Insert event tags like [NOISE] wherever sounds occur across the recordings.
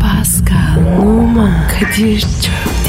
Pascal, Oman, Kadir çok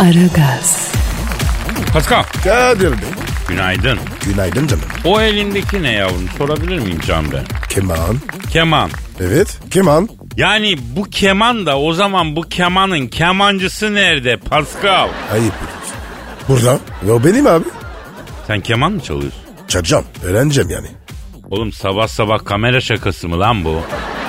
Aragaz, Paskal. Kadir Bey. Günaydın. Günaydın canım. O elindeki ne yavrum sorabilir miyim Can ben? Keman. Keman. Evet. Keman. Yani bu keman da o zaman bu kemanın kemancısı nerede Pascal? Ayıp. ediyorsun. Burada. Ve o benim abi. Sen keman mı çalıyorsun? Çalacağım. Öğreneceğim yani. Oğlum sabah sabah kamera şakası mı lan bu?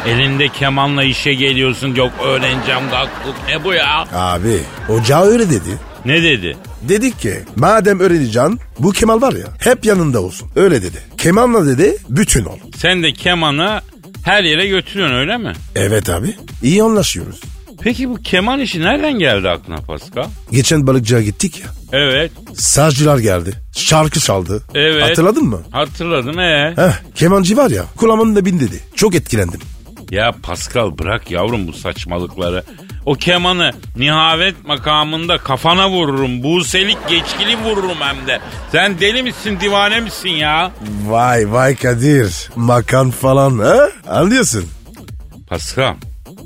Elinde kemanla işe geliyorsun yok öğreneceğim kalklık ne bu ya? Abi. Ocağı öyle dedi. Ne dedi? Dedik ki madem öğreneceksin bu Kemal var ya hep yanında olsun. Öyle dedi. Kemal'la dedi bütün ol. Sen de kemanı her yere götürüyorsun öyle mi? Evet abi. İyi anlaşıyoruz. Peki bu keman işi nereden geldi aklına Pascal? Geçen balıkçıya gittik ya. Evet Sağcılar geldi. Şarkı çaldı. Evet. Hatırladın mı? hatırladım ee. Heh, kemancı var ya kulağımın da bin dedi. Çok etkilendim. Ya Pascal bırak yavrum bu saçmalıkları. O kemanı nihavet makamında kafana vururum. Buselik geçkili vururum hem de. Sen deli misin divane misin ya? Vay vay Kadir. Makan falan ha? Anlıyorsun. Pascal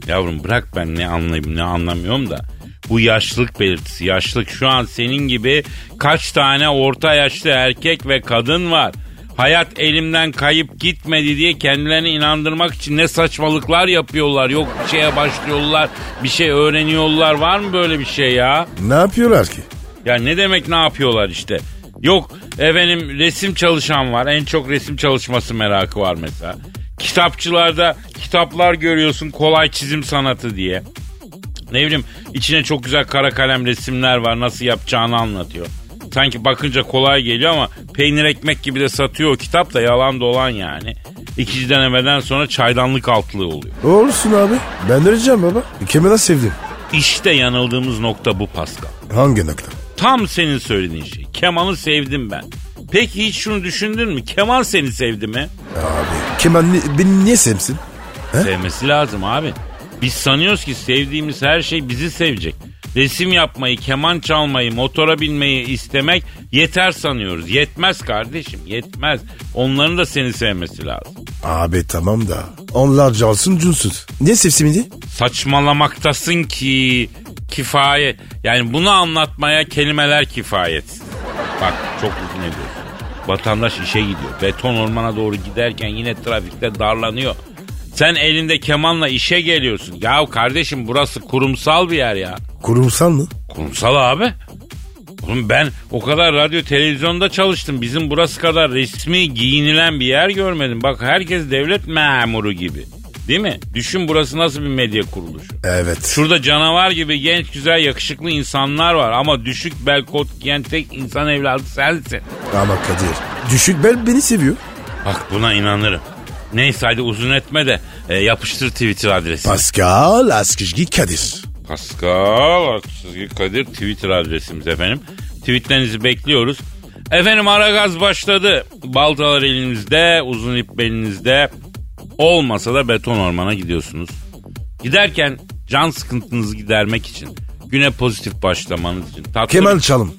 yavrum bırak ben ne anlayayım ne anlamıyorum da. Bu yaşlılık belirtisi. Yaşlılık şu an senin gibi kaç tane orta yaşlı erkek ve kadın var. Hayat elimden kayıp gitmedi diye kendilerini inandırmak için ne saçmalıklar yapıyorlar. Yok bir şeye başlıyorlar, bir şey öğreniyorlar. Var mı böyle bir şey ya? Ne yapıyorlar ki? Ya ne demek ne yapıyorlar işte. Yok efendim resim çalışan var. En çok resim çalışması merakı var mesela. Kitapçılarda kitaplar görüyorsun kolay çizim sanatı diye. Ne bileyim içine çok güzel kara kalem resimler var nasıl yapacağını anlatıyor. Sanki bakınca kolay geliyor ama peynir ekmek gibi de satıyor o kitap da yalan dolan yani. İkinci denemeden sonra çaydanlık altlığı oluyor. Olsun abi. Ben öleceğim baba. Kemal'ı sevdim. İşte yanıldığımız nokta bu Pascal. Hangi nokta? Tam senin söylediğin şey. Keman'ı sevdim ben. Peki hiç şunu düşündün mü? Keman seni sevdi mi? Abi Kemal ni- beni niye sevsin? Sevmesi lazım abi. Biz sanıyoruz ki sevdiğimiz her şey bizi sevecek. Resim yapmayı, keman çalmayı, motora binmeyi istemek yeter sanıyoruz. Yetmez kardeşim, yetmez. Onların da seni sevmesi lazım. Abi tamam da onlar cansın cunsuz. Niye sevsin beni? Saçmalamaktasın ki kifayet. Yani bunu anlatmaya kelimeler kifayet. Bak çok uzun ediyorsun. Vatandaş işe gidiyor. Beton ormana doğru giderken yine trafikte darlanıyor. Sen elinde kemanla işe geliyorsun. Ya kardeşim burası kurumsal bir yer ya. Kurumsal mı? Kurumsal abi. Oğlum ben o kadar radyo televizyonda çalıştım. Bizim burası kadar resmi giyinilen bir yer görmedim. Bak herkes devlet memuru gibi. Değil mi? Düşün burası nasıl bir medya kuruluşu. Evet. Şurada canavar gibi genç güzel yakışıklı insanlar var ama düşük bel kot giyen tek insan evladı sensin. Ama Kadir. Düşük bel beni seviyor. Bak buna inanırım. Neyse hadi uzun etme de e, yapıştır Twitter adresi. Pascal Askışgi Kadir. Pascal Askizgi Kadir Twitter adresimiz efendim. Tweetlerinizi bekliyoruz. Efendim Aragaz başladı. Baltalar elinizde, uzun ip belinizde. Olmasa da beton ormana gidiyorsunuz. Giderken can sıkıntınızı gidermek için, güne pozitif başlamanız için. Tatlı Kemal çalım.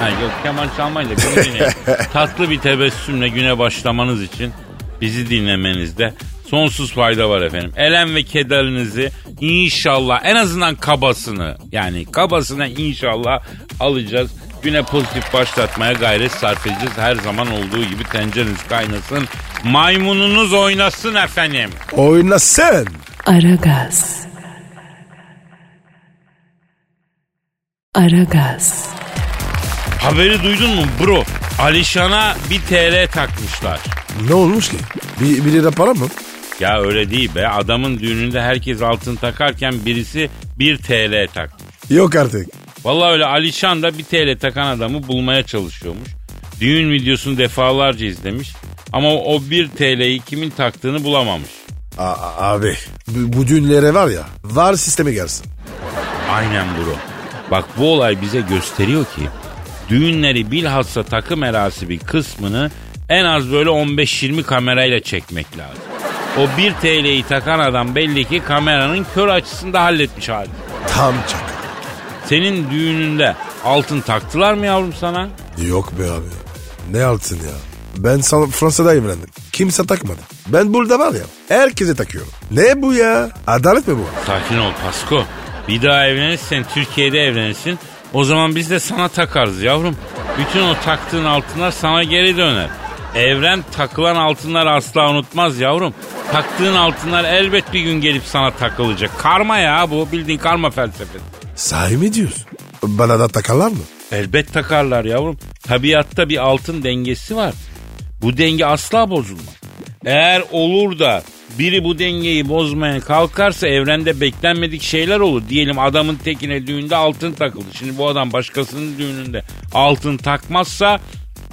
Ha, yok keman çalmayın da bunu dinleyin. Tatlı bir tebessümle güne başlamanız için bizi dinlemenizde sonsuz fayda var efendim. Elem ve kederinizi inşallah en azından kabasını yani kabasına inşallah alacağız. Güne pozitif başlatmaya gayret sarf edeceğiz. Her zaman olduğu gibi tencereniz kaynasın. Maymununuz oynasın efendim. Oyna sen. Aragaz. Aragaz, Haberi duydun mu bro? Alişan'a bir TL takmışlar. Ne olmuş ki? Bir, bir lira para mı? Ya öyle değil be. Adamın düğününde herkes altın takarken birisi 1 TL tak. Yok artık. Vallahi öyle Alişan da 1 TL takan adamı bulmaya çalışıyormuş. Düğün videosunu defalarca izlemiş. Ama o 1 TL'yi kimin taktığını bulamamış. A- abi bu, bu düğünlere var ya var sistemi gelsin. Aynen bro. Bak bu olay bize gösteriyor ki düğünleri bilhassa takım erasibi kısmını en az böyle 15-20 kamerayla çekmek lazım. O 1 TL'yi takan adam belli ki kameranın kör açısında halletmiş hali. Tam çakal. Senin düğününde altın taktılar mı yavrum sana? Yok be abi. Ne altın ya. Ben sana Fransa'da evlendim. Kimse takmadı. Ben burada var ya herkese takıyorum. Ne bu ya? Adalet mi bu? Sakin ol Pasko. Bir daha evlenirsen Türkiye'de evlenirsin. O zaman biz de sana takarız yavrum. Bütün o taktığın altınlar sana geri döner. Evren takılan altınları asla unutmaz yavrum. Taktığın altınlar elbet bir gün gelip sana takılacak. Karma ya bu bildiğin karma felsefesi. Sahi mi diyorsun? Bana da takarlar mı? Elbet takarlar yavrum. Tabiatta bir altın dengesi var. Bu denge asla bozulmaz. Eğer olur da biri bu dengeyi bozmaya kalkarsa evrende beklenmedik şeyler olur. Diyelim adamın tekine düğünde altın takıldı. Şimdi bu adam başkasının düğününde altın takmazsa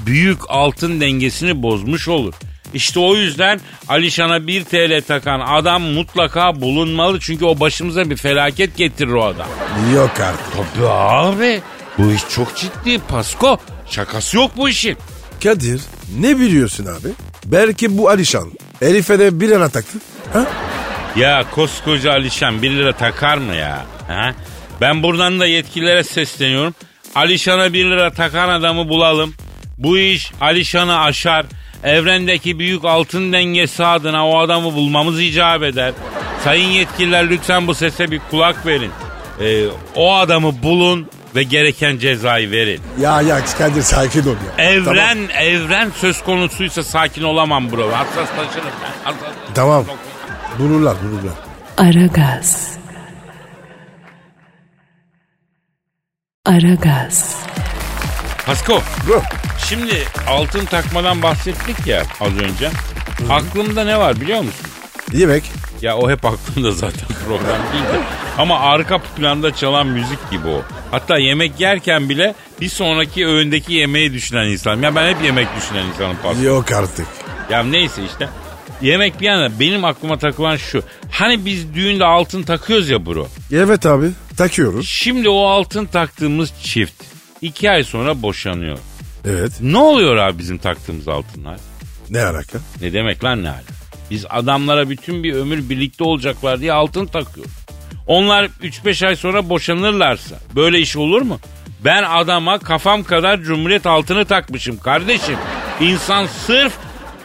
büyük altın dengesini bozmuş olur. İşte o yüzden Alişan'a 1 TL takan adam mutlaka bulunmalı. Çünkü o başımıza bir felaket getirir o adam. Yok artık. Tabii abi. Bu iş çok ciddi Pasko. Şakası yok bu işin. Kadir ne biliyorsun abi? Belki bu Alişan. Elif'e de bir yana taktı. Ha? Ya koskoca Alişan 1 lira takar mı ya? Ha? Ben buradan da yetkililere sesleniyorum. Alişan'a 1 lira takan adamı bulalım. Bu iş Alişan'ı aşar. Evrendeki büyük altın dengesi adına o adamı bulmamız icap eder. Sayın yetkililer lütfen bu sese bir kulak verin. Ee, o adamı bulun ve gereken cezayı verin. Ya ya Kadir sakin ol ya. Evren, evren söz konusuysa sakin olamam bro. Hassaslaşırım ben. Hassaslaşırım. Tamam. tamam. Bulurlar bulurlar. Aragaz. Aragaz. Pasko, Bro. şimdi altın takmadan bahsettik ya az önce. Aklımda ne var biliyor musun? Yemek. Ya o hep aklımda zaten [LAUGHS] program değil de. Ama arka planda çalan müzik gibi o. Hatta yemek yerken bile bir sonraki öğündeki yemeği düşünen insanım. Ya ben hep yemek düşünen insanım Pasko. Yok artık. Ya neyse işte. Yemek bir yana benim aklıma takılan şu. Hani biz düğünde altın takıyoruz ya bro. Evet abi takıyoruz. Şimdi o altın taktığımız çift iki ay sonra boşanıyor. Evet. Ne oluyor abi bizim taktığımız altınlar? Ne alaka? Ne demek lan ne hala? Biz adamlara bütün bir ömür birlikte olacaklar diye altın takıyoruz. Onlar 3-5 ay sonra boşanırlarsa böyle iş olur mu? Ben adama kafam kadar cumhuriyet altını takmışım kardeşim. İnsan sırf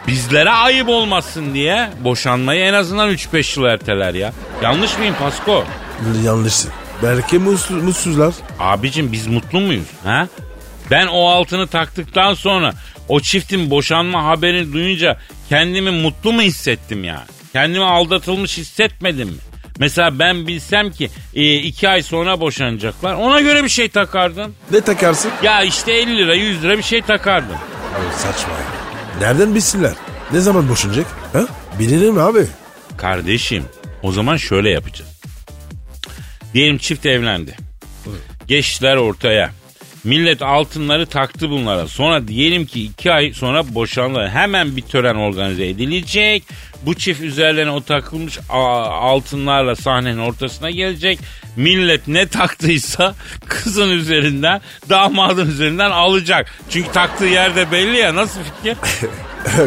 bizlere ayıp olmasın diye boşanmayı en azından 3-5 yıl erteler ya. Yanlış mıyım Pasko? Yanlışsın. Belki mutsuz, mutsuzlar. Abicim biz mutlu muyuz? Ha? Ben o altını taktıktan sonra o çiftin boşanma haberini duyunca kendimi mutlu mu hissettim ya? Kendimi aldatılmış hissetmedim mi? Mesela ben bilsem ki e, iki ay sonra boşanacaklar. Ona göre bir şey takardım. Ne takarsın? Ya işte 50 lira 100 lira bir şey takardım. Abi saçma ya. Nereden bilsinler? Ne zaman boşanacak? Ha? Bilirim abi. [LAUGHS] Kardeşim o zaman şöyle yapacağız. Diyelim çift evlendi. Geçtiler ortaya. Millet altınları taktı bunlara. Sonra diyelim ki iki ay sonra boşandılar. Hemen bir tören organize edilecek. Bu çift üzerlerine o takılmış a- altınlarla sahnenin ortasına gelecek. Millet ne taktıysa [LAUGHS] kızın üzerinden, damadın üzerinden alacak. Çünkü taktığı yerde belli ya. Nasıl fikir?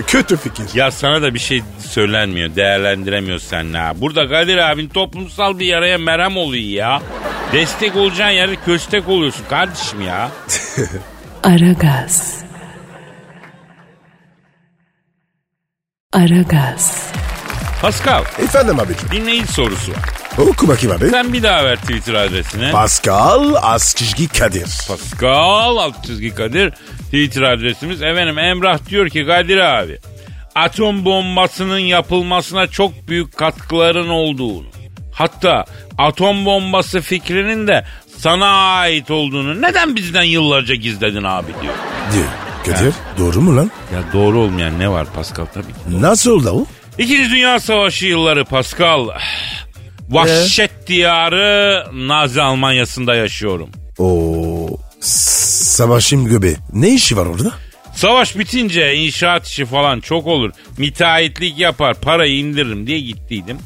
Kötü fikir. Ya sana da bir şey söylenmiyor, değerlendiremiyor sen ha. Burada Kadir abin toplumsal bir yaraya merhem oluyor ya. Destek olacağın yerde köstek oluyorsun kardeşim ya. Aragaz. Aragaz. Pascal, Efendim abicim. dinleyici sorusu var. Oku bakayım abi. Sen bir daha ver Twitter adresini. Pascal Askizgi Kadir. Pascal alt çizgi Kadir Twitter adresimiz. Efendim Emrah diyor ki Kadir abi atom bombasının yapılmasına çok büyük katkıların olduğunu hatta atom bombası fikrinin de sana ait olduğunu neden bizden yıllarca gizledin abi diyor. Diyor. Kadir doğru mu lan? Ya doğru olmayan ne var Pascal tabii ki. Nasıl oldu o? İkinci Dünya Savaşı yılları Pascal. Vahşet diyarı Nazi Almanya'sında yaşıyorum. Oo. s- Savaşın göbeği. Ne işi var orada? Savaş bitince inşaat işi falan çok olur. Müteahhitlik yapar parayı indiririm diye gittiydim.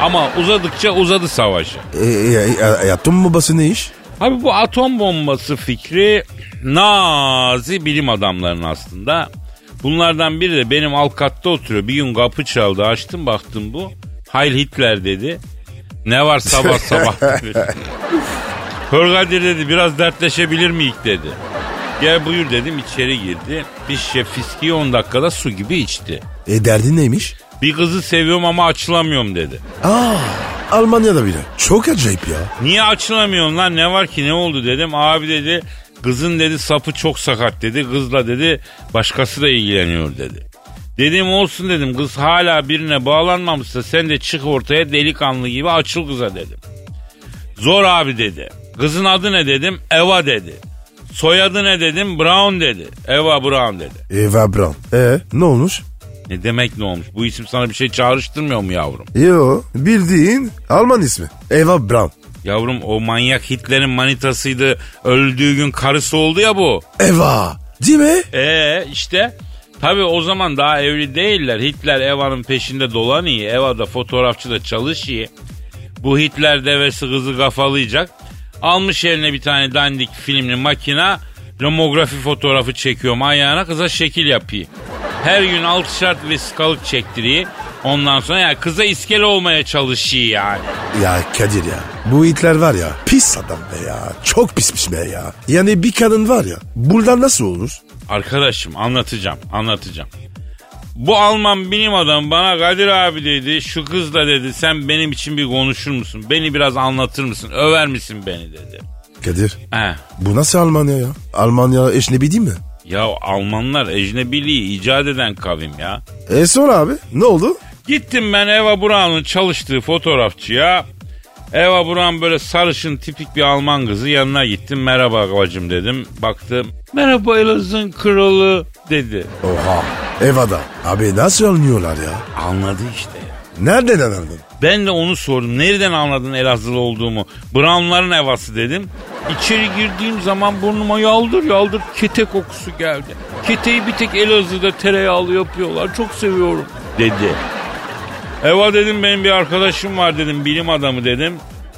Ama uzadıkça uzadı savaş. E, ya, ya, yatom babası ne iş? Abi bu atom bombası fikri nazi bilim adamlarının aslında. Bunlardan biri de benim alt katta oturuyor. Bir gün kapı çaldı açtım baktım bu. Hayır Hitler dedi. Ne var sabah sabah dedi. Hırgadir dedi biraz dertleşebilir miyik dedi. Gel buyur dedim içeri girdi. Bir şişe fiskiyi 10 dakikada su gibi içti. E derdin neymiş? Bir kızı seviyorum ama açılamıyorum dedi. Aa Almanya'da bile. Çok acayip ya. Niye açılamıyorsun lan ne var ki ne oldu dedim. Abi dedi kızın dedi sapı çok sakat dedi. Kızla dedi başkası da ilgileniyor dedi. Dedim olsun dedim kız hala birine bağlanmamışsa sen de çık ortaya delikanlı gibi açıl kıza dedim. Zor abi dedi. Kızın adı ne dedim? Eva dedi. Soyadı ne dedim? Brown dedi. Eva Brown dedi. Eva Braun. E ne olmuş? Ne demek ne olmuş? Bu isim sana bir şey çağrıştırmıyor mu yavrum? Yo bildiğin Alman ismi. Eva Braun. Yavrum o manyak Hitler'in manitasıydı. Öldüğü gün karısı oldu ya bu. Eva. Değil mi? Ee işte tabi o zaman daha evli değiller. Hitler Eva'nın peşinde dolan iyi. Eva da fotoğrafçı da çalış iyi. Bu Hitler devesi kızı kafalayacak. Almış eline bir tane dandik filmli makina. Lomografi fotoğrafı çekiyorum ayağına kıza şekil yapayım. Her gün alt şart ve skalık çektiriyi. Ondan sonra ya kıza iskele olmaya çalışıyor yani. Ya Kadir ya. Bu itler var ya. Pis adam be ya. Çok pismiş be ya. Yani bir kadın var ya. Buradan nasıl olur? Arkadaşım anlatacağım anlatacağım. Bu Alman bilim adamı bana Kadir abi dedi şu kız da dedi sen benim için bir konuşur musun? Beni biraz anlatır mısın? Över misin beni dedi. Kadir. He. Bu nasıl Almanya ya? Almanya eşnebi değil mi? Ya Almanlar ecnebiliği icat eden kavim ya. E sonra abi. Ne oldu? Gittim ben Eva Braun'un çalıştığı fotoğrafçıya. Eva Braun böyle sarışın tipik bir Alman kızı yanına gittim. Merhaba bacım dedim. Baktım. Merhaba Elazığ'ın kralı dedi. Oha. Eva'da. Abi nasıl anlıyorlar ya? Anladı işte ya. Nereden anladın? Ben de onu sordum. Nereden anladın Elazığlı olduğumu? Brownların evası dedim. İçeri girdiğim zaman burnuma yaldır yaldır kete kokusu geldi. Keteyi bir tek Elazığ'da tereyağlı yapıyorlar. Çok seviyorum dedi. Eva dedim benim bir arkadaşım var dedim bilim adamı dedim.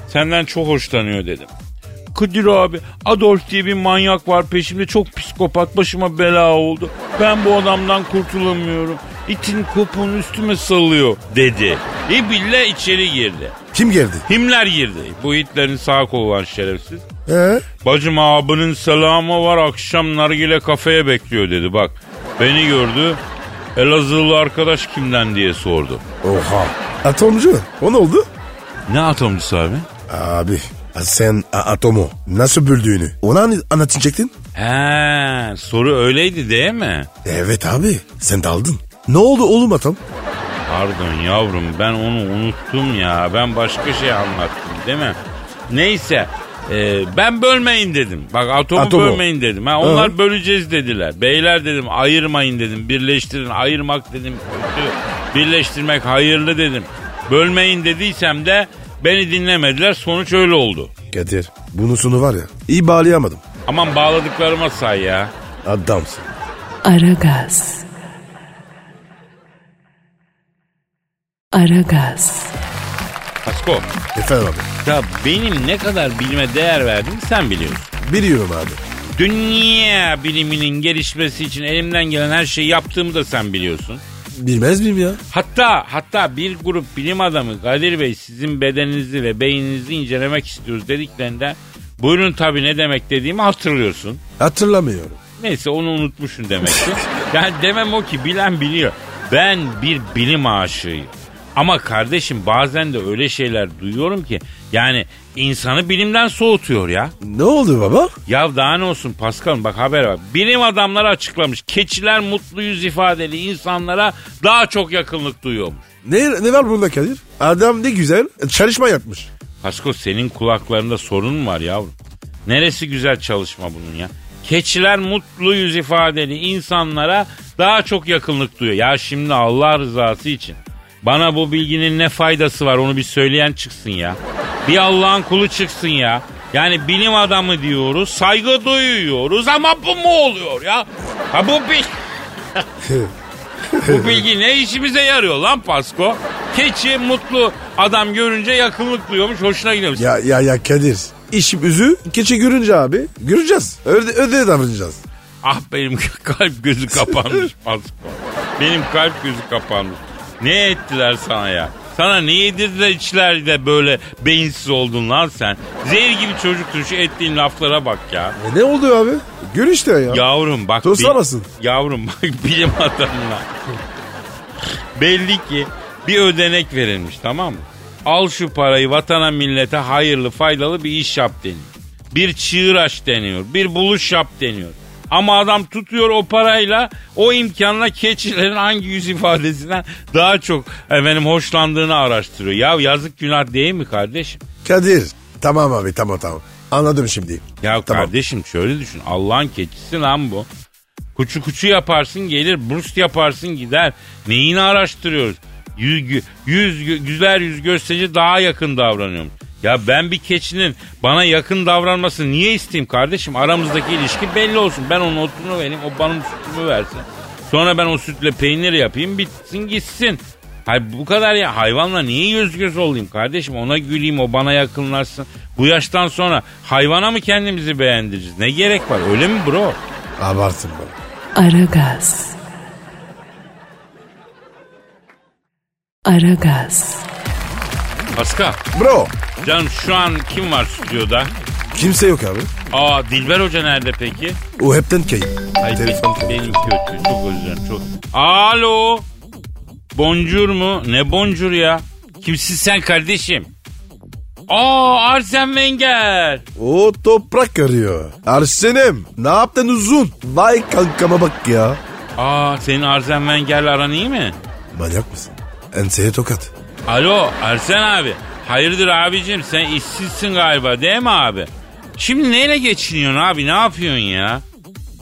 Senden çok hoşlanıyor dedim. Kadir abi Adolf diye bir manyak var peşimde çok psikopat başıma bela oldu. Ben bu adamdan kurtulamıyorum. İtin kopuğunu üstüme salıyor dedi. İbille içeri girdi. Kim geldi? Himler girdi. Bu Hitler'in sağ kolu var şerefsiz. Ee? Bacım abinin selamı var akşam nargile kafeye bekliyor dedi bak. Beni gördü. Elazığlı arkadaş kimden diye sordu. Oha. Atomcu. O ne oldu? Ne atomcusu abi? Abi sen a- atomu nasıl böldüğünü ona an- anlatacaktın. He, soru öyleydi değil mi? Evet abi sen daldın. Ne oldu oğlum atom? Pardon yavrum ben onu unuttum ya. Ben başka şey anlattım değil mi? Neyse e, ben bölmeyin dedim. Bak atomu, Atomu. bölmeyin dedim. Ha, onlar böleceğiz dediler. Beyler dedim ayırmayın dedim. Birleştirin ayırmak dedim. Kötü. Birleştirmek hayırlı dedim. Bölmeyin dediysem de beni dinlemediler. Sonuç öyle oldu. Kadir bunun sonu var ya iyi bağlayamadım. Aman bağladıklarıma say ya. Adamsın. Aragaz. Aragaz. Asko Efendim abi. ya benim ne kadar bilime değer verdiğimi sen biliyorsun. Biliyorum abi. Dünya biliminin gelişmesi için elimden gelen her şeyi yaptığımı da sen biliyorsun. Bilmez miyim ya? Hatta hatta bir grup bilim adamı Kadir Bey sizin bedeninizi ve beyninizi incelemek istiyoruz dediklerinde buyurun tabii ne demek dediğimi hatırlıyorsun. Hatırlamıyorum. Neyse onu unutmuşsun demek ki. yani demem o ki bilen biliyor. Ben bir bilim aşığıyım. Ama kardeşim bazen de öyle şeyler duyuyorum ki yani insanı bilimden soğutuyor ya. Ne oldu baba? Ya daha ne olsun Paskal'ım bak haber var. Bilim adamları açıklamış. Keçiler mutlu yüz ifadeli insanlara daha çok yakınlık duyuyormuş. Ne, ne var bunda Kadir? Adam ne güzel çalışma yapmış. Pasko senin kulaklarında sorun mu var yavrum? Neresi güzel çalışma bunun ya? Keçiler mutlu yüz ifadeli insanlara daha çok yakınlık duyuyor. Ya şimdi Allah rızası için. Bana bu bilginin ne faydası var onu bir söyleyen çıksın ya. Bir Allah'ın kulu çıksın ya. Yani bilim adamı diyoruz, saygı duyuyoruz ama bu mu oluyor ya? Ha bu bir... bu bilgi ne işimize yarıyor lan Pasko? Keçi mutlu adam görünce yakınlıklıyormuş, hoşuna gidiyormuş. Ya ya ya Kadir. İşim üzü keçi görünce abi. Göreceğiz. Öyle, öyle davranacağız. Ah benim kalp gözü kapanmış Pasko. Benim kalp gözü kapanmış. Ne ettiler sana ya? Sana ne yedirdiler içler de böyle beyinsiz oldun lan sen. Zehir gibi çocuktun şu ettiğin laflara bak ya. E ne oluyor abi? Gör işte ya. Yavrum bak. Toslamasın. bil- Yavrum bak [LAUGHS] bilim adamına. Belli ki bir ödenek verilmiş tamam mı? Al şu parayı vatana millete hayırlı faydalı bir iş yap deniyor. Bir çığır aç deniyor. Bir buluş yap deniyor. Ama adam tutuyor o parayla o imkanla keçilerin hangi yüz ifadesinden daha çok efendim hoşlandığını araştırıyor. Ya yazık günah değil mi kardeşim? Kadir. Tamam abi tamam tamam. Anladım şimdi. Tamam. Ya kardeşim şöyle düşün. Allah'ın keçisi lan bu. Kuçu kuçu yaparsın gelir, brust yaparsın gider. Neyini araştırıyoruz? Yüz, gü- yüz gü- güzel yüz gösterici daha yakın davranıyorum. Ya ben bir keçinin bana yakın davranmasını niye isteyeyim kardeşim? Aramızdaki ilişki belli olsun. Ben onun otunu vereyim, o bana sütümü versin. Sonra ben o sütle peynir yapayım, bitsin gitsin. Hayır bu kadar ya hayvanla niye yüz göz olayım kardeşim ona güleyim o bana yakınlaşsın. Bu yaştan sonra hayvana mı kendimizi beğendireceğiz? Ne gerek var öyle mi bro? Abartın bana. Aragaz. Aragaz. Paska Bro. canım şu an kim var stüdyoda? Kimse yok abi. Aa Dilber Hoca nerede peki? O hepten kayıp. Ay, Telefon benim, benim kötü çok özür dilerim çok. Alo boncur mu? Ne boncur ya? Kimsin sen kardeşim? Aa Arsen Wenger. O toprak arıyor. Arsenem ne yaptın uzun? Vay kankama bak ya. Aa senin Arsen Wenger'le aran iyi mi? Manyak mısın? Enseye tokat. Alo Ersen abi. Hayırdır abicim sen işsizsin galiba değil mi abi? Şimdi neyle geçiniyorsun abi ne yapıyorsun ya?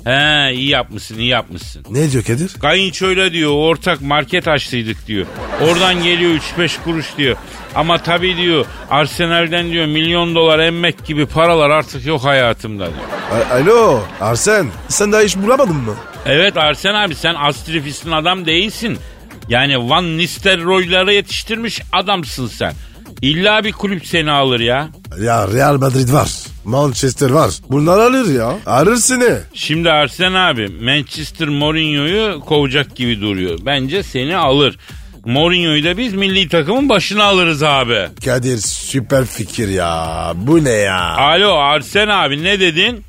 He iyi yapmışsın iyi yapmışsın. Ne diyor Kadir? Kayınçoyla diyor ortak market açtıydık diyor. Oradan geliyor 3-5 kuruş diyor. Ama tabii diyor Arsenal'den diyor milyon dolar emmek gibi paralar artık yok hayatımda diyor. A- Alo Arsen sen daha iş bulamadın mı? Evet Arsen abi sen astrifistin adam değilsin. Yani Van Nistelrooy'lara yetiştirmiş adamsın sen. İlla bir kulüp seni alır ya. Ya Real Madrid var. Manchester var. Bunlar alır ya. Arır seni. Şimdi Arsen abi Manchester Mourinho'yu kovacak gibi duruyor. Bence seni alır. Mourinho'yu da biz milli takımın başına alırız abi. Kadir süper fikir ya. Bu ne ya? Alo Arsen abi ne dedin?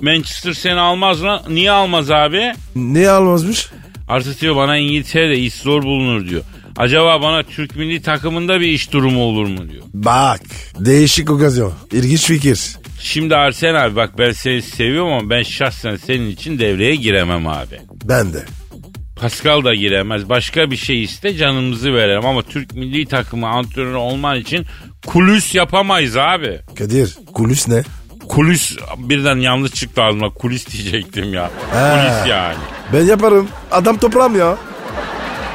Manchester seni almaz mı? Niye almaz abi? Ne almazmış? Artık diyor bana İngiltere'de iş zor bulunur diyor. Acaba bana Türk milli takımında bir iş durumu olur mu diyor. Bak değişik okazyon. İlginç fikir. Şimdi Arsen abi bak ben seni seviyorum ama ben şahsen senin için devreye giremem abi. Ben de. Pascal da giremez. Başka bir şey iste canımızı verelim ama Türk milli takımı antrenörü olman için kulüs yapamayız abi. Kadir kulüs ne? Kulüs birden yanlış çıktı ağzıma. Kulis diyecektim ya. Kulis yani. Ben yaparım. Adam toprağım ya.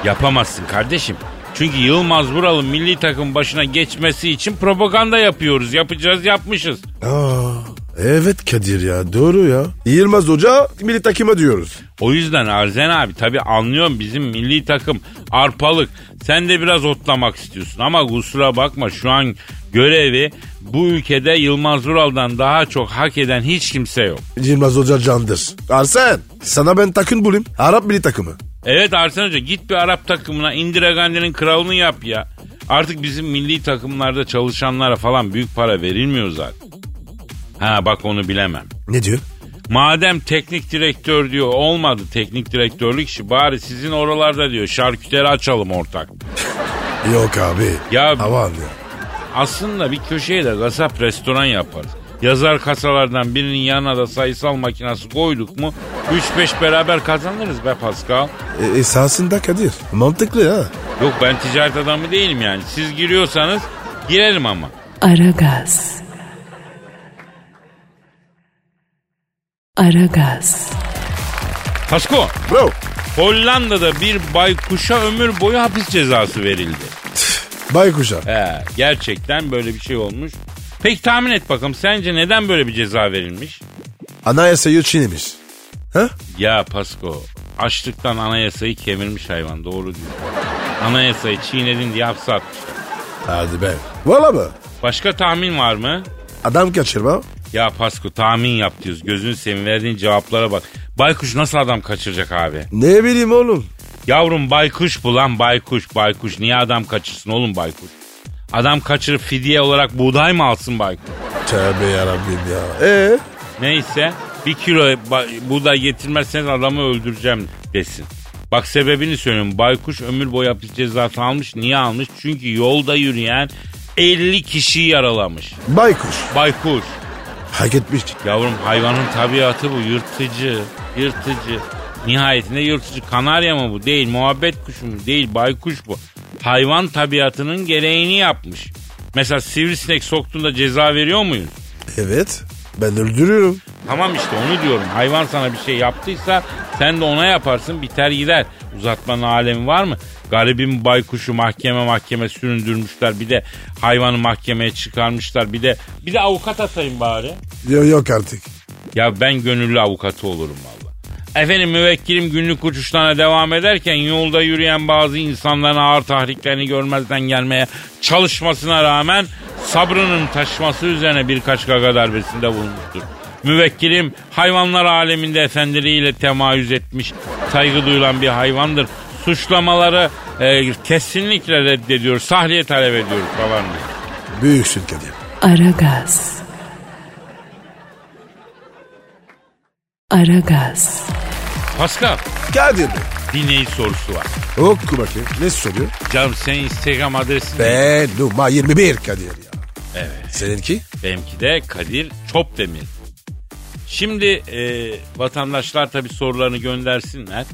Yapamazsın kardeşim. Çünkü Yılmaz Vural'ın milli takım başına geçmesi için propaganda yapıyoruz. Yapacağız yapmışız. Aa, evet Kadir ya doğru ya. Yılmaz Hoca milli takıma diyoruz. O yüzden Arzen abi tabi anlıyorum bizim milli takım arpalık. Sen de biraz otlamak istiyorsun ama kusura bakma şu an görevi bu ülkede Yılmaz Vural'dan daha çok hak eden hiç kimse yok. Yılmaz Hoca candır. Arsen sana ben takın bulayım. Arap milli takımı. Evet Arsen Hoca git bir Arap takımına Indira Gandhi'nin kralını yap ya. Artık bizim milli takımlarda çalışanlara falan büyük para verilmiyor zaten. Ha bak onu bilemem. Ne diyor? Madem teknik direktör diyor olmadı teknik direktörlük işi bari sizin oralarda diyor şarküteri açalım ortak. Yok abi. Ya- Aman ya. Aslında bir köşeye de kasap restoran yaparız. Yazar kasalardan birinin yanına da sayısal makinesi koyduk mu 3-5 beraber kazanırız be Pascal. E, esasında Kadir. Mantıklı ya. Yok ben ticaret adamı değilim yani. Siz giriyorsanız girelim ama. Aragaz. Aragaz. Pasko Bro. Hollanda'da bir baykuşa ömür boyu hapis cezası verildi. Baykuşa. He, gerçekten böyle bir şey olmuş. Peki tahmin et bakalım sence neden böyle bir ceza verilmiş? Anayasayı çiğnemiş. Ha? Ya Pasko açlıktan anayasayı kemirmiş hayvan doğru diyor. Anayasayı çiğnedin diye hapse atmış. Hadi be. Valla mı? Başka tahmin var mı? Adam kaçırma. Ya Pasko tahmin yap diyoruz. Gözünü seveyim verdiğin cevaplara bak. Baykuş nasıl adam kaçıracak abi? Ne bileyim oğlum. Yavrum baykuş bu lan baykuş baykuş. Niye adam kaçırsın oğlum baykuş? Adam kaçırıp fidye olarak buğday mı alsın baykuş? Tövbe yarabbim ya. Ee? Neyse bir kilo ba- buğday getirmezseniz adamı öldüreceğim desin. Bak sebebini söylüyorum. Baykuş ömür boyu hapis cezası almış. Niye almış? Çünkü yolda yürüyen 50 kişiyi yaralamış. Baykuş. Baykuş. Hak etmiş. Yavrum hayvanın tabiatı bu yırtıcı, yırtıcı. Nihayetinde yırtıcı. Kanarya mı bu? Değil. Muhabbet kuşu mu? Değil. Baykuş bu. Hayvan tabiatının gereğini yapmış. Mesela sivrisinek soktuğunda ceza veriyor muyuz? Evet. Ben öldürüyorum. Tamam işte onu diyorum. Hayvan sana bir şey yaptıysa sen de ona yaparsın biter gider. Uzatmanın alemi var mı? Garibim baykuşu mahkeme mahkeme süründürmüşler. Bir de hayvanı mahkemeye çıkarmışlar. Bir de bir de avukat atayım bari. Yok, yok artık. Ya ben gönüllü avukatı olurum valla. Efendim müvekkilim günlük uçuşlarına devam ederken yolda yürüyen bazı insanların ağır tahriklerini görmezden gelmeye çalışmasına rağmen sabrının taşması üzerine birkaç gaga darbesinde bulunmuştur. Müvekkilim hayvanlar aleminde efendiliğiyle temayüz etmiş, saygı duyulan bir hayvandır. Suçlamaları e, kesinlikle reddediyor, sahliye talep ediyor falan diyor. Büyüksün Kadir. Aragaz. Aragaz. Pascal, Kadir Bey. dinleyici sorusu var. Oku bakayım. Ne soruyor? Canım senin Instagram adresin ne? Ben numara 21 Kadir ya. Evet. Seninki? Benimki de Kadir Çopdemir. Şimdi e, vatandaşlar tabii sorularını göndersinler.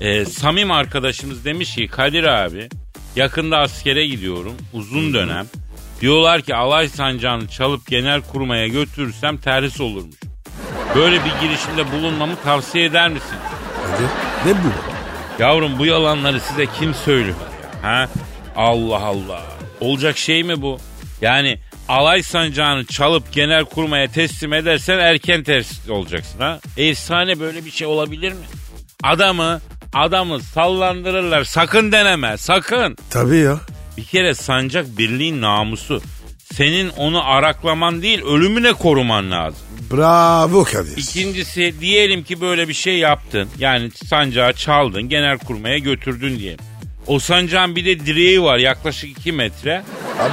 E, Samim arkadaşımız demiş ki Kadir abi yakında askere gidiyorum uzun dönem. Diyorlar ki alay sancağını çalıp genel kurmaya götürürsem terhis olurmuş. Böyle bir girişimde bulunmamı tavsiye eder misin? Kadir. Ne bu? Yavrum bu yalanları size kim söylüyor? ya, Ha? Allah Allah. Olacak şey mi bu? Yani alay sancağını çalıp genel kurmaya teslim edersen erken ters olacaksın ha. Efsane böyle bir şey olabilir mi? Adamı adamı sallandırırlar. Sakın deneme. Sakın. Tabii ya. Bir kere sancak birliğin namusu. Senin onu araklaman değil ölümüne koruman lazım. Bravo Kadir. İkincisi diyelim ki böyle bir şey yaptın. Yani sancağı çaldın, genel kurmaya götürdün diye. O sancağın bir de direği var yaklaşık 2 metre.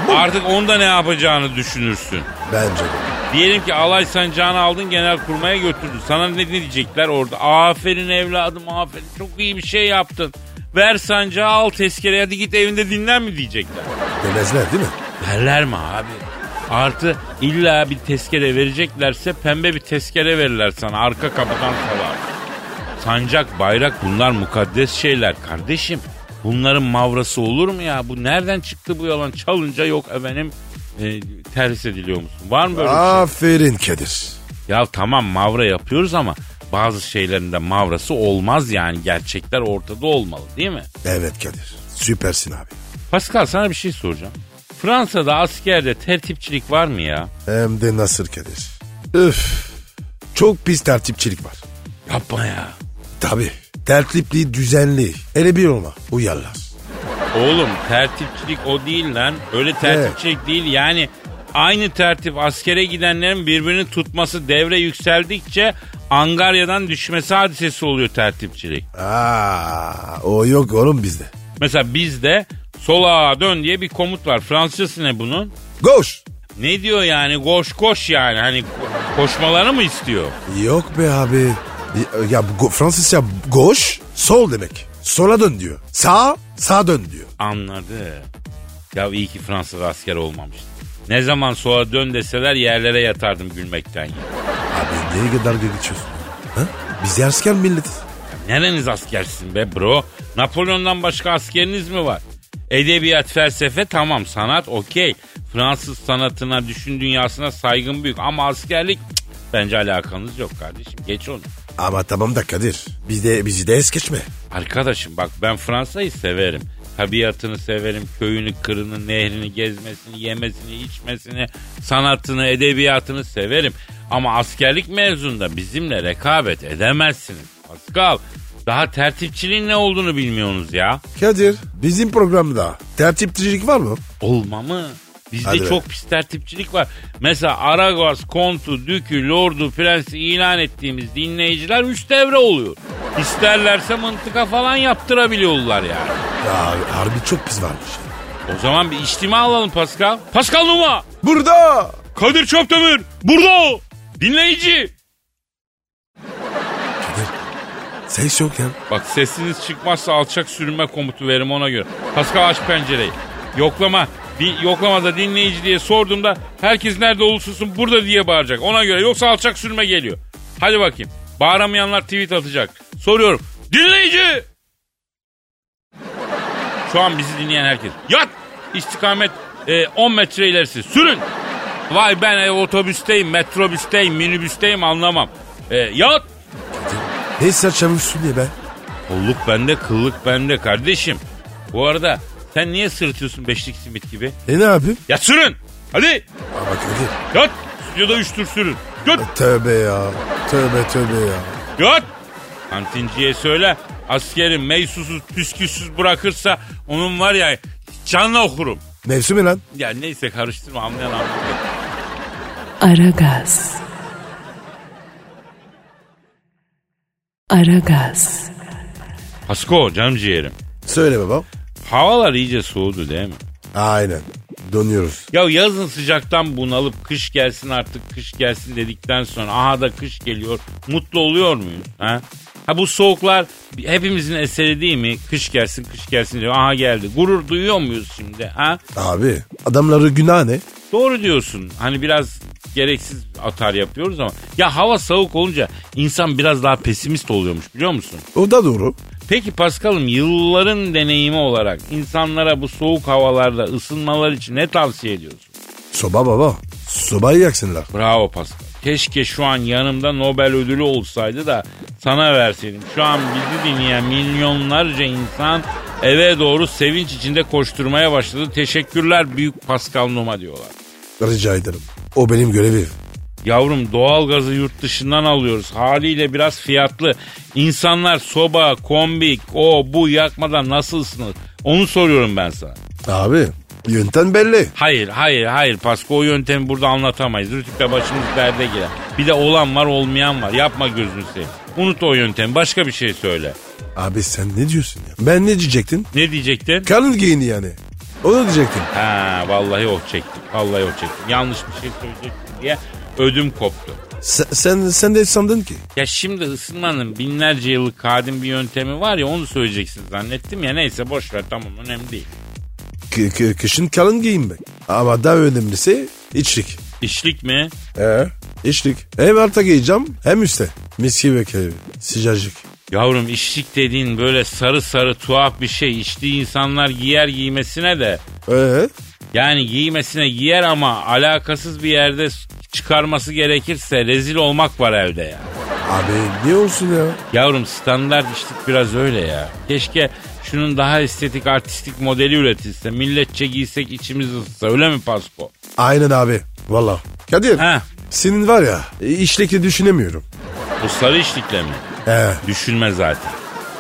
Abi. Artık onda ne yapacağını düşünürsün. Bence de. Diyelim ki alay sancağını aldın genel kurmaya götürdün. Sana ne ne diyecekler orada? Aferin evladım aferin çok iyi bir şey yaptın. Ver sancağı al tezkere hadi git evinde dinlen mi diyecekler. Demezler değil mi? Verler mi abi? Artı illa bir tezkere vereceklerse pembe bir tezkere verirler sana arka kapıdan salar. Sancak, bayrak bunlar mukaddes şeyler kardeşim. Bunların mavrası olur mu ya? Bu nereden çıktı bu yalan? Çalınca yok efendim e, terhis ediliyor musun? Var mı böyle bir şey? Aferin Kadir. Ya tamam mavra yapıyoruz ama bazı şeylerin de mavrası olmaz yani. Gerçekler ortada olmalı değil mi? Evet Kadir. Süpersin abi. Pascal sana bir şey soracağım. Fransa'da askerde tertipçilik var mı ya? Hem de nasıl Kadir. Üf. Çok pis tertipçilik var. Yapma ya. Tabii. Tertipli, düzenli. Hele bir olma. Uyarlar. Oğlum tertipçilik o değil lan. Öyle tertipçilik değil yani. Aynı tertip askere gidenlerin birbirini tutması devre yükseldikçe angaryadan düşmesi hadisesi oluyor tertipçilik. Aa, o yok oğlum bizde. Mesela bizde sola dön diye bir komut var. Fransızcası ne bunun? Koş. Ne diyor yani koş koş yani hani ko- koşmalarını mı istiyor? Yok be abi. Ya, ya bu go- Fransızca gauche sol demek. Sola dön diyor. Sağ sağ dön diyor. Anladı. Ya iyi ki Fransa'da asker olmamış. Ne zaman sola dön deseler yerlere yatardım gülmekten ya. Abi nereye kadar geçiyorsun? Ha? Biz de asker milletiz. Nereniz askersin be bro? Napolyon'dan başka askeriniz mi var? Edebiyat, felsefe tamam sanat okey. Fransız sanatına, düşün dünyasına saygın büyük ama askerlik cık, bence alakanız yok kardeşim. Geç onu. Ama tamam da Kadir. Biz de, bizi de es geçme. Arkadaşım bak ben Fransa'yı severim. Tabiatını severim, köyünü, kırını, nehrini, gezmesini, yemesini, içmesini, sanatını, edebiyatını severim. Ama askerlik mezununda bizimle rekabet edemezsiniz. Pascal, daha tertipçiliğin ne olduğunu bilmiyorsunuz ya. Kadir bizim programda tertipçilik var mı? Olmamı. Bizde Hadi be. çok pis tertipçilik var. Mesela Aragaz, Kontu, Dükü, Lordu, Prens'i ilan ettiğimiz dinleyiciler üç devre oluyor. İsterlerse mıntıka falan yaptırabiliyorlar yani. Ya harbi çok pis varmış. O zaman bir içtima alalım Pascal. Pascal Numa! Burada. Kadir Çöptemir! Burada o! Dinleyici! Ses yok ya. Bak sesiniz çıkmazsa alçak sürünme komutu veririm ona göre. Pascal aç pencereyi. Yoklama. Bir yoklamada dinleyici diye sorduğumda herkes nerede olursa olsun burada diye bağıracak. Ona göre yoksa alçak sürme geliyor. Hadi bakayım. Bağıramayanlar tweet atacak. Soruyorum. Dinleyici! Şu an bizi dinleyen herkes. Yat! İstikamet e, 10 metre ilerisi. Sürün! Vay ben e, otobüsteyim, metrobüsteyim, minibüsteyim anlamam. E, yat! Ne saçmamışsın diye be. Kolluk bende, kıllık bende kardeşim. Bu arada sen niye sırıtıyorsun beşlik simit gibi? E ne yapayım? Ya sürün! Hadi! Ama Kadir. Yat! Stüdyoda üç tur sürün. Yat! Tövbe ya. Tövbe tövbe ya. Yat! Kantinciye söyle. Askerin meysusuz, püsküsüz bırakırsa onun var ya canla okurum. Mevsimi lan. Ya neyse karıştırma anlayan anlıyor. Aragaz. Aragaz. Pasko canım ciğerim. Söyle baba. Havalar iyice soğudu değil mi? Aynen. Dönüyoruz. Ya yazın sıcaktan bunalıp kış gelsin artık kış gelsin dedikten sonra aha da kış geliyor mutlu oluyor muyuz? Ha? ha bu soğuklar hepimizin eseri değil mi? Kış gelsin kış gelsin diyor aha geldi. Gurur duyuyor muyuz şimdi? Ha? Abi adamları günah ne? Doğru diyorsun hani biraz gereksiz atar yapıyoruz ama ya hava soğuk olunca insan biraz daha pesimist oluyormuş biliyor musun? O da doğru. Peki Paskal'ım yılların deneyimi olarak insanlara bu soğuk havalarda ısınmalar için ne tavsiye ediyorsun? Soba baba. Sobayı yaksınlar. Bravo Pascal. Keşke şu an yanımda Nobel ödülü olsaydı da sana verseydim. Şu an bizi dinleyen milyonlarca insan eve doğru sevinç içinde koşturmaya başladı. Teşekkürler büyük Pascal Numa diyorlar. Rica ederim. O benim görevim. Yavrum doğalgazı yurt dışından alıyoruz. Haliyle biraz fiyatlı. İnsanlar soba, kombik, o bu yakmadan nasıl ısınır? Onu soruyorum ben sana. Abi yöntem belli. Hayır hayır hayır Pasko o yöntemi burada anlatamayız. Rütükle başımız derde girer. Bir de olan var olmayan var. Yapma gözünü seveyim. Unut o yöntemi başka bir şey söyle. Abi sen ne diyorsun ya? Ben ne diyecektin? Ne diyecektin? Kalın giyini yani. Onu diyecektim. Ha vallahi oh çektim. Vallahi oh çektim. Yanlış bir şey söyleyecektim diye ödüm koptu. Sen, sen, sen de sandın ki. Ya şimdi ısınmanın binlerce yıllık kadim bir yöntemi var ya onu söyleyeceksin zannettim ya neyse boş ver tamam önemli değil. K- k- kışın kalın giyinmek. Ama daha önemlisi içlik. İşlik mi? Ee? İçlik. Hem alta giyeceğim hem üstte. Mis gibi keyif. Sıcacık. Yavrum işlik dediğin böyle sarı sarı tuhaf bir şey. İçtiği insanlar giyer giymesine de Ee? Yani giymesine giyer ama alakasız bir yerde s- çıkarması gerekirse rezil olmak var evde ya. Abi ne olsun ya? Yavrum standart içtik biraz öyle ya. Keşke şunun daha estetik artistik modeli üretilse. Milletçe giysek içimiz ısıtsa öyle mi Pasko? Aynen abi. Valla. Kadir. Ha. Senin var ya işlikle düşünemiyorum. Bu sarı içlikle mi? Ee, Düşünme zaten.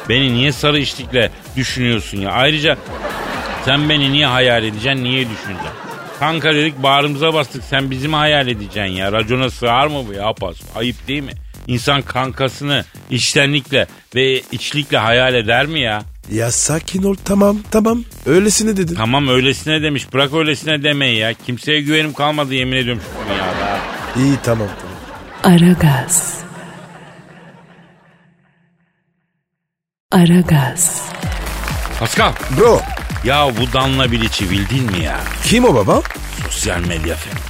Beni niye sarı içlikle düşünüyorsun ya? Ayrıca sen beni niye hayal edeceksin, niye düşüneceksin? Kanka dedik bağrımıza bastık sen bizi mi hayal edeceksin ya? Racona sığar mı bu ya pas? Ayıp değil mi? İnsan kankasını içtenlikle ve içlikle hayal eder mi ya? ya sakin ol tamam tamam. Öylesine dedim. Tamam öylesine demiş bırak öylesine demeyi ya. Kimseye güvenim kalmadı yemin ediyorum şu dünyada. İyi tamam tamam. Aragaz. Aragaz. Pascal Bro ya bu Danla Bilic'i bildin mi ya? kim o baba? Sosyal medya fenomeni.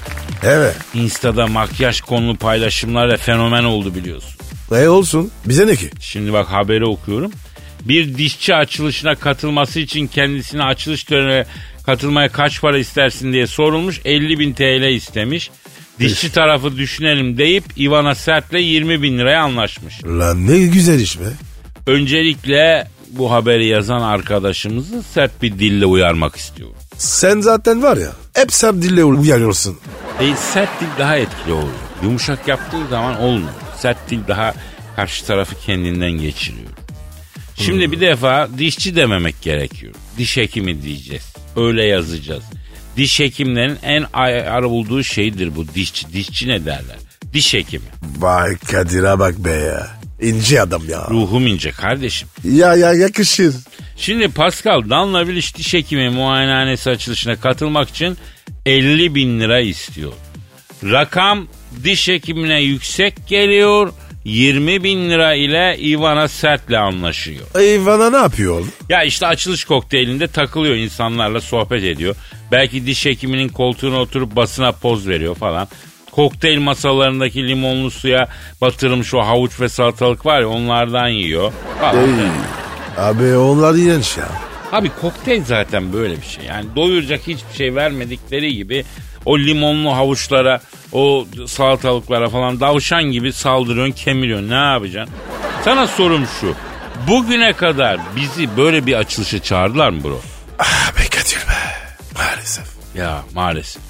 Evet. Insta'da makyaj konulu paylaşımlarla fenomen oldu biliyorsun. E olsun. Bize ne ki? Şimdi bak haberi okuyorum. Bir dişçi açılışına katılması için kendisine açılış törenine katılmaya kaç para istersin diye sorulmuş. 50 bin TL istemiş. Dişçi tarafı düşünelim deyip Ivana Sert'le 20 bin liraya anlaşmış. Lan ne güzel iş be. Öncelikle bu haberi yazan arkadaşımızı sert bir dille uyarmak istiyorum. Sen zaten var ya hep sen dille uyarıyorsun. E, sert dil daha etkili oluyor. Yumuşak yaptığı zaman olmuyor. Sert dil daha karşı tarafı kendinden geçiriyor. Şimdi bir defa dişçi dememek gerekiyor. Diş hekimi diyeceğiz. Öyle yazacağız. Diş hekimlerin en ay- ara bulduğu şeydir bu dişçi. Dişçi ne derler? Diş hekimi. Vay Kadir'e bak be ya. İnce adam ya. Ruhum ince kardeşim. Ya ya yakışır. Şimdi Pascal Danla Bilic diş hekimi muayenehanesi açılışına katılmak için 50 bin lira istiyor. Rakam diş hekimine yüksek geliyor. 20 bin lira ile Ivana Sert'le anlaşıyor. Eyvana ne yapıyor oğlum? Ya işte açılış kokteylinde takılıyor insanlarla sohbet ediyor. Belki diş hekiminin koltuğuna oturup basına poz veriyor falan. Kokteyl masalarındaki limonlu suya batırılmış o havuç ve salatalık var ya onlardan yiyor. Falan. Ey, Abi onlar iğrenç ya. Abi kokteyl zaten böyle bir şey. Yani doyuracak hiçbir şey vermedikleri gibi o limonlu havuçlara, o salatalıklara falan davşan gibi saldırıyorsun, kemiriyorsun. Ne yapacaksın? Sana sorum şu. Bugüne kadar bizi böyle bir açılışa çağırdılar mı bro? Abi Kadir be. Maalesef. Ya maalesef.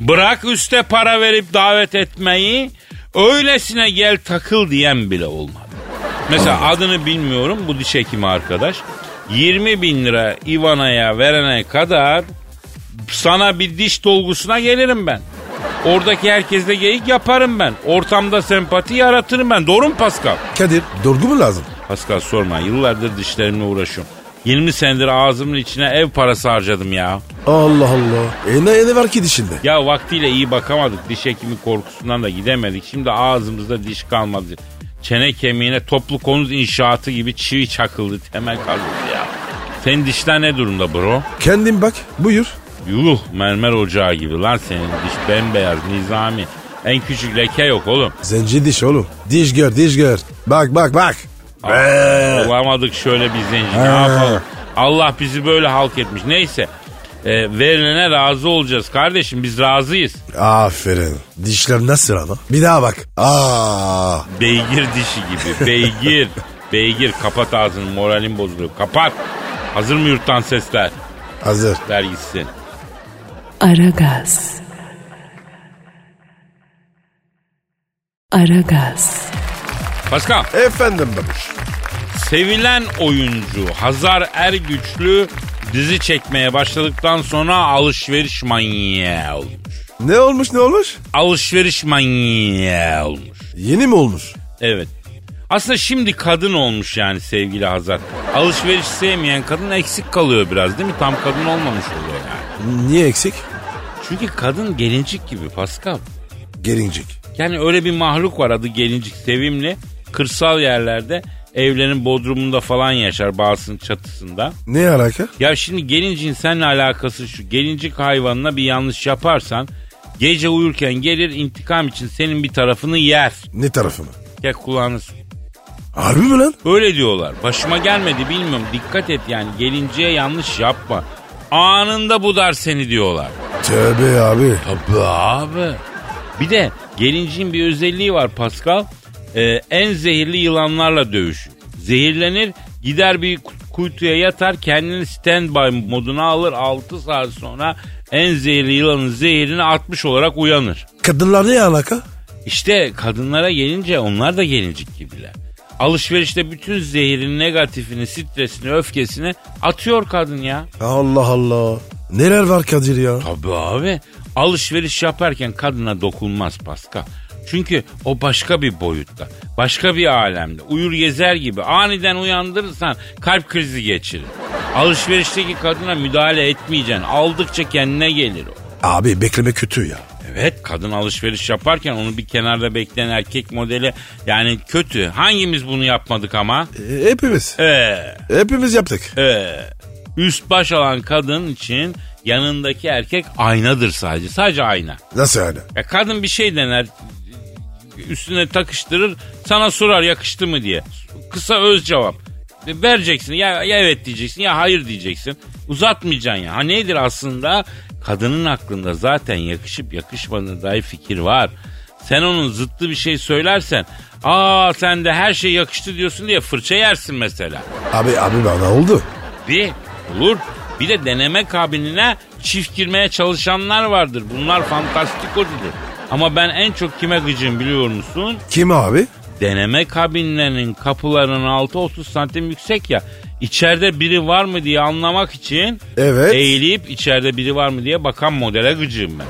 Bırak üste para verip davet etmeyi, öylesine gel takıl diyen bile olmadı. Mesela adını bilmiyorum bu diş hekimi arkadaş. 20 bin lira Ivana'ya verene kadar sana bir diş dolgusuna gelirim ben. Oradaki herkesle geyik yaparım ben. Ortamda sempati yaratırım ben. Doğru mu Pascal? Kadir dolgu mu lazım? Pascal sorma. Yıllardır dişlerimle uğraşıyorum. 20 senedir ağzımın içine ev parası harcadım ya. Allah Allah. E ne, ne var ki dişinde? Ya vaktiyle iyi bakamadık. Diş hekimi korkusundan da gidemedik. Şimdi ağzımızda diş kalmadı. Çene kemiğine toplu konut inşaatı gibi çivi çakıldı. Temel kaldı ya. Senin dişler ne durumda bro? Kendin bak buyur. Yuh mermer ocağı gibi lan senin diş bembeyaz nizami. En küçük leke yok oğlum. Zenci diş oğlum. Diş gör diş gör. Bak bak bak. Be. Olamadık şöyle bir zenci. Ne Ha. yapalım? Allah bizi böyle halk etmiş. Neyse. E, verilene razı olacağız kardeşim. Biz razıyız. Aferin. Dişler nasıl ama? Bir daha bak. Aa. Beygir dişi gibi. Beygir. Beygir kapat ağzını moralim bozuluyor. Kapat. Hazır mı yurttan sesler? Hazır. Ver gitsin. Aragaz. Aragaz. Pascal. Efendim babuş. Sevilen oyuncu Hazar Ergüçlü dizi çekmeye başladıktan sonra alışveriş manyağı olmuş. Ne olmuş ne olmuş? Alışveriş manyağı olmuş. Yeni mi olmuş? Evet. Aslında şimdi kadın olmuş yani sevgili Hazar. Alışveriş sevmeyen kadın eksik kalıyor biraz değil mi? Tam kadın olmamış oluyor yani. Niye eksik? Çünkü kadın gelincik gibi Pascal. Gelincik. Yani öyle bir mahluk var adı gelincik sevimli. Kırsal yerlerde evlerin bodrumunda falan yaşar bazısının çatısında. Ne alaka? Ya şimdi gelincin seninle alakası şu. Gelincik hayvanına bir yanlış yaparsan gece uyurken gelir intikam için senin bir tarafını yer. Ne tarafı mı? Gel kulağını s- Harbi mi lan? Öyle diyorlar. Başıma gelmedi bilmiyorum. Dikkat et yani gelinciye yanlış yapma. Anında budar seni diyorlar. Tövbe abi. Tabii abi. Bir de gelinciğin bir özelliği var Pascal. Ee, en zehirli yılanlarla dövüşür. Zehirlenir gider bir ku- kuytuya yatar kendini standby moduna alır 6 saat sonra en zehirli yılanın zehirini atmış olarak uyanır. Kadınlar ne alaka? İşte kadınlara gelince onlar da gelincik gibiler. Alışverişte bütün zehirin negatifini, stresini, öfkesini atıyor kadın ya. Allah Allah. Neler var Kadir ya? Tabii abi. Alışveriş yaparken kadına dokunmaz Pascal. Çünkü o başka bir boyutta, başka bir alemde. Uyur gezer gibi aniden uyandırırsan kalp krizi geçirir. Alışverişteki kadına müdahale etmeyeceksin. Aldıkça kendine gelir o. Abi bekleme kötü ya. Evet kadın alışveriş yaparken onu bir kenarda bekleyen erkek modeli yani kötü. Hangimiz bunu yapmadık ama? E, hepimiz. Ee, Hepimiz yaptık. ee, üst baş alan kadın için yanındaki erkek aynadır sadece. Sadece ayna. Nasıl yani? Ya kadın bir şey dener üstüne takıştırır sana sorar yakıştı mı diye. Kısa öz cevap. E, Vereceksin ya, ya evet diyeceksin ya hayır diyeceksin. Uzatmayacaksın ya. Ha nedir aslında? Kadının aklında zaten yakışıp yakışmadığına dair fikir var. Sen onun zıttı bir şey söylersen aa sen de her şey yakıştı diyorsun diye fırça yersin mesela. Abi abi bana oldu. Bir olur. Bir de deneme kabinine çift girmeye çalışanlar vardır. Bunlar fantastik hocadır. Ama ben en çok kime gıcım biliyor musun? Kim abi? Deneme kabinlerinin kapılarının altı 30 santim yüksek ya. İçeride biri var mı diye anlamak için Evet. eğilip içeride biri var mı diye bakan modele gıcığım ben.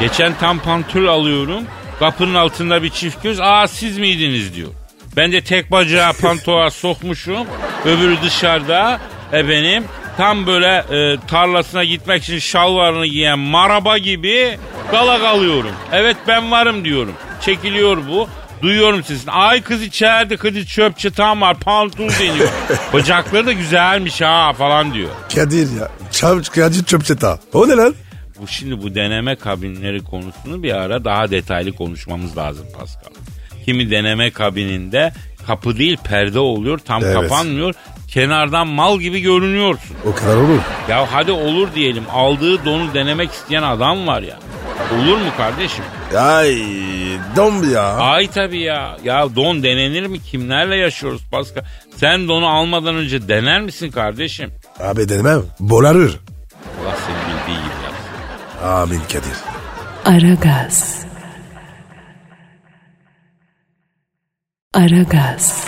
Geçen tam pantül alıyorum. Kapının altında bir çift göz. Aa siz miydiniz diyor. Ben de tek bacağı pantoğa sokmuşum. Öbürü dışarıda. E benim tam böyle e, tarlasına gitmek için şalvarını giyen maraba gibi gala kalıyorum. Evet ben varım diyorum. Çekiliyor bu. Duyuyorum sesini. Ay kız içeride kız çöp çıtan var pantul deniyor. Bacakları da güzelmiş ha falan diyor. Kadir ya. Çam, Kadir Çöpçeta. O ne lan? Bu şimdi bu deneme kabinleri konusunu bir ara daha detaylı konuşmamız lazım Pascal. Kimi deneme kabininde kapı değil perde oluyor tam Evet. kapanmıyor. Kenardan mal gibi görünüyorsun. O kadar olur. Ya hadi olur diyelim aldığı donu denemek isteyen adam var ya. Olur mu kardeşim? Ay dom ya. Ay tabii ya. Ya don denenir mi? Kimlerle yaşıyoruz Pascal? Sen donu almadan önce dener misin kardeşim? Abi denemem. Bolarır. Allah seni bildiği gibi yapsın. Amin Kadir. Aragaz. Aragaz.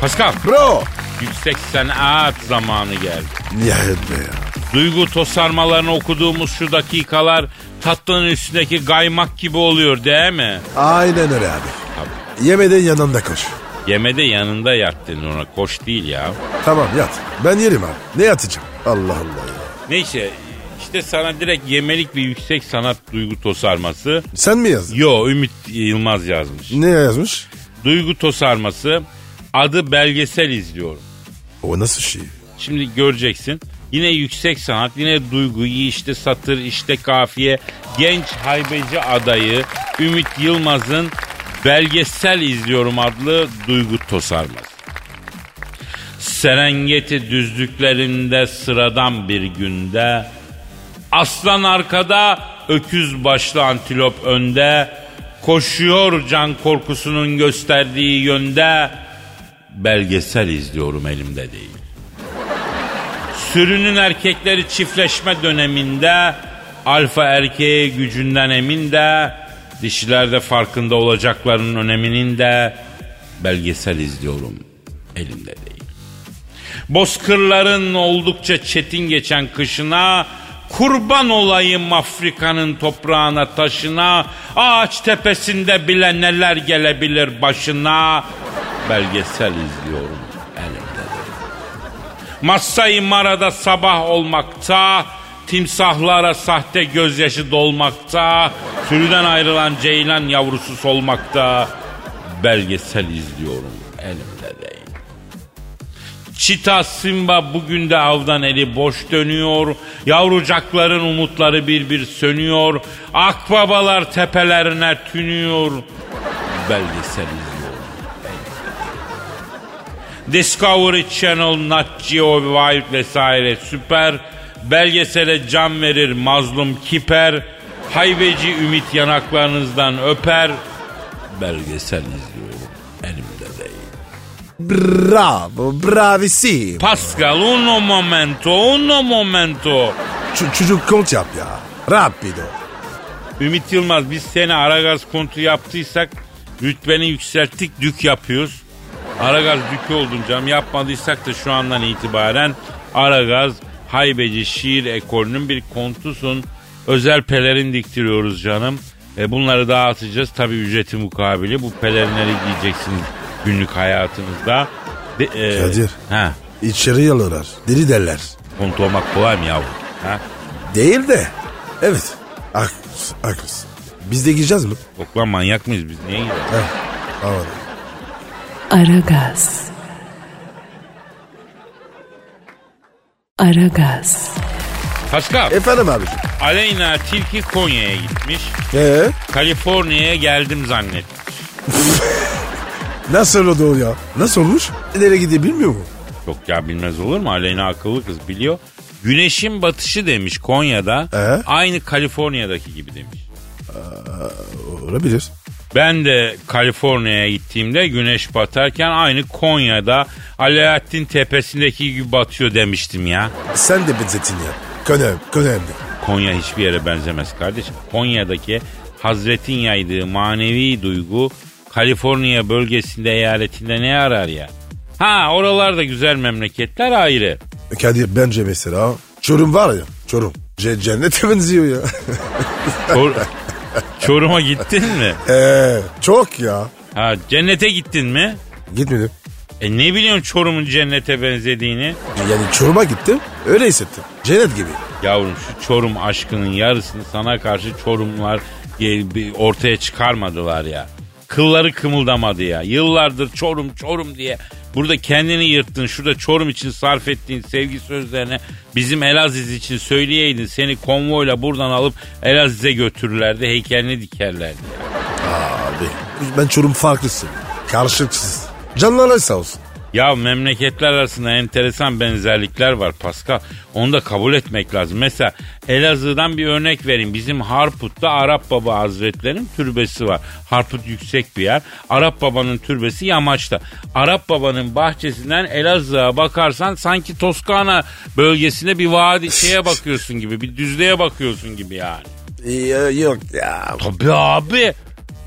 Pascal, Bro. yüksek sanat zamanı geldi. Nihayet be ya. Duygu tosarmalarını okuduğumuz şu dakikalar tatlının üstündeki kaymak gibi oluyor değil mi? Aynen öyle abi. Yemeden yanında koş. Yemede yanında yattın ona koş değil ya. Tamam yat. Ben yerim abi. Ne yatacağım? Allah Allah ya. Neyse işte sana direkt yemelik bir yüksek sanat duygu tosarması. Sen mi yazdın? Yo Ümit Yılmaz yazmış. Ne yazmış? Duygu tosarması adı belgesel izliyorum. O nasıl şey? Şimdi göreceksin. Yine yüksek sanat, yine duygu, işte satır, işte kafiye. Genç haybeci adayı Ümit Yılmaz'ın belgesel izliyorum adlı duygu tosarması. Serengeti düzlüklerinde sıradan bir günde Aslan arkada, öküz başlı antilop önde. Koşuyor can korkusunun gösterdiği yönde. Belgesel izliyorum elimde değil. Sürünün erkekleri çiftleşme döneminde alfa erkeğe gücünden emin de dişiler de farkında olacaklarının öneminin de belgesel izliyorum elimde değil. Bozkırların oldukça çetin geçen kışına Kurban olayım Afrika'nın toprağına taşına Ağaç tepesinde bile neler gelebilir başına Belgesel izliyorum elimde Masai Mara'da sabah olmakta, timsahlara sahte gözyaşı dolmakta, sürüden ayrılan ceylan yavrusu solmakta. Belgesel izliyorum elimde değil. Çita Simba bugün de avdan eli boş dönüyor. Yavrucakların umutları bir bir sönüyor. Akbabalar tepelerine tünüyor. Belgesel izliyorum. Discovery Channel, Nat Geo, Wild vesaire süper. Belgesele can verir mazlum kiper. Hayveci ümit yanaklarınızdan öper. Belgesel izliyorum elimde değil. Bravo, bravisi. Pascal uno momento, uno momento. Ç- çocuk kont yap ya. Rapido. Ümit Yılmaz biz seni Aragaz kontu yaptıysak rütbeni yükselttik dük yapıyoruz. Aragaz dükü oldun canım yapmadıysak da şu andan itibaren Aragaz haybeci şiir ekolünün bir kontusun. Özel pelerin diktiriyoruz canım. E bunları dağıtacağız tabi ücreti mukabili. Bu pelerinleri giyeceksiniz günlük hayatınızda. De, e, Kadir. Ha, İçeri yalırlar. Deli derler. kontu olmak kolay mı yavrum? Ha? Değil de. Evet. Haklısın, haklısın. Biz de gireceğiz mi? Yok lan manyak mıyız biz? Niye gidelim? Heh. Aman. Aragaz. Aragaz. Pascal. Efendim abi. Aleyna Tilki Konya'ya gitmiş. Ee, Kaliforniya'ya geldim zannet. nasıl oldu o ya? Nasıl olmuş? Nereye gidiyor bilmiyor mu? Yok ya bilmez olur mu? Aleyna akıllı kız biliyor. Güneşin batışı demiş Konya'da. Ee? Aynı Kaliforniya'daki gibi demiş. Olabilir. Ben de Kaliforniya'ya gittiğimde güneş batarken aynı Konya'da Alaaddin Tepesi'ndeki gibi batıyor demiştim ya. Sen de benzetin ya. Konem, konemde. Konya hiçbir yere benzemez kardeşim. Konya'daki Hazretin yaydığı manevi duygu Kaliforniya bölgesinde eyaletinde ne arar ya? Ha oralarda güzel memleketler ayrı. Kadir bence mesela Çorum var ya. Çorum. Ce- cennete benziyor ya. [LAUGHS] Çor- Çorum'a gittin mi? Eee çok ya. Ha cennete gittin mi? Gitmedim. E ne biliyorsun Çorum'un cennete benzediğini? Yani Çorum'a gittim. Öyle hissettim. Cennet gibi. Yavrum şu Çorum aşkının yarısını sana karşı Çorumlar e, bir ortaya çıkarmadılar ya. Kılları kımıldamadı ya. Yıllardır Çorum Çorum diye burada kendini yırttın. Şurada Çorum için sarf ettiğin sevgi sözlerine bizim Elaziz için söyleyeydin. Seni konvoyla buradan alıp Elaziz'e götürürlerdi. Heykelini dikerlerdi. Abi ben Çorum farklısın. Karşılıksız. Canlara sağ olsun. Ya memleketler arasında enteresan benzerlikler var Pascal. Onu da kabul etmek lazım. Mesela Elazığ'dan bir örnek vereyim. Bizim Harput'ta Arap Baba Hazretleri'nin türbesi var. Harput yüksek bir yer. Arap Baba'nın türbesi yamaçta. Arap Baba'nın bahçesinden Elazığ'a bakarsan sanki Toskana bölgesine bir vadi [LAUGHS] şeye bakıyorsun gibi. Bir düzlüğe bakıyorsun gibi yani. yok ya. Tabii abi.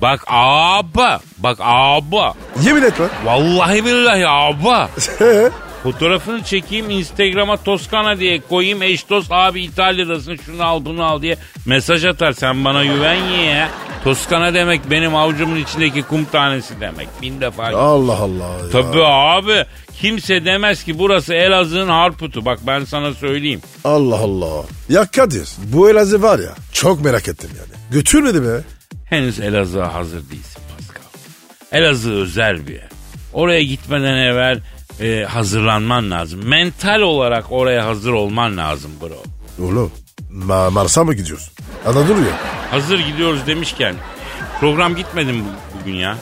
Bak abi. Bak abi. Yemin et [LAUGHS] lan. Vallahi billahi abi. Fotoğrafını çekeyim Instagram'a Toskana diye koyayım. Eş dost abi İtalya'dasın şunu al bunu al diye mesaj atar. Sen bana güven ya. Toskana demek benim avucumun içindeki kum tanesi demek. Bin defa. Allah Allah. ya. Tabii abi. Kimse demez ki burası Elazığ'ın Harput'u. Bak ben sana söyleyeyim. Allah Allah. Ya Kadir bu Elazığ var ya çok merak ettim yani. Götürmedi be. Henüz Elazığ'a hazır değilsin Pascal. Elazığ özel bir yer. Oraya gitmeden evvel e, hazırlanman lazım. Mental olarak oraya hazır olman lazım bro. Oğlum Ma Mars'a mı gidiyorsun? Anadolu ya. Hazır gidiyoruz demişken program gitmedim bu- bugün ya.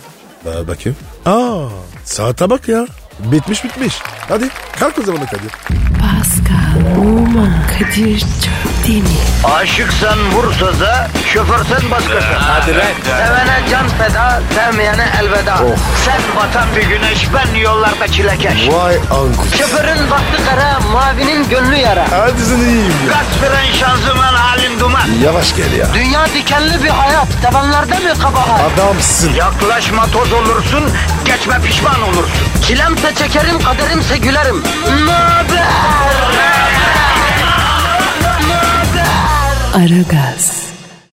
Ee, bakayım. Aa saate bak ya. Bitmiş bitmiş. Hadi kalk o zaman Kadir. Pascal, Oman, Kadir çok değil mi? Aşıksan vursa da, şoförsen başkasın. Hadi Sevene can feda, sevmeyene elveda. Sen batan bir güneş, ben yollarda çilekeş. Vay anku. Şoförün baktı kara, mavinin gönlü yara. Hadi sen iyiyim ya. Kasperen şanzıman halin duman. Yavaş gel ya. Dünya dikenli bir hayat, sevenlerde mi kabahar? Adamsın. Yaklaşma toz olursun, geçme pişman olursun. Çilemse çekerim, kaderimse gülerim. Möber! Aragaz.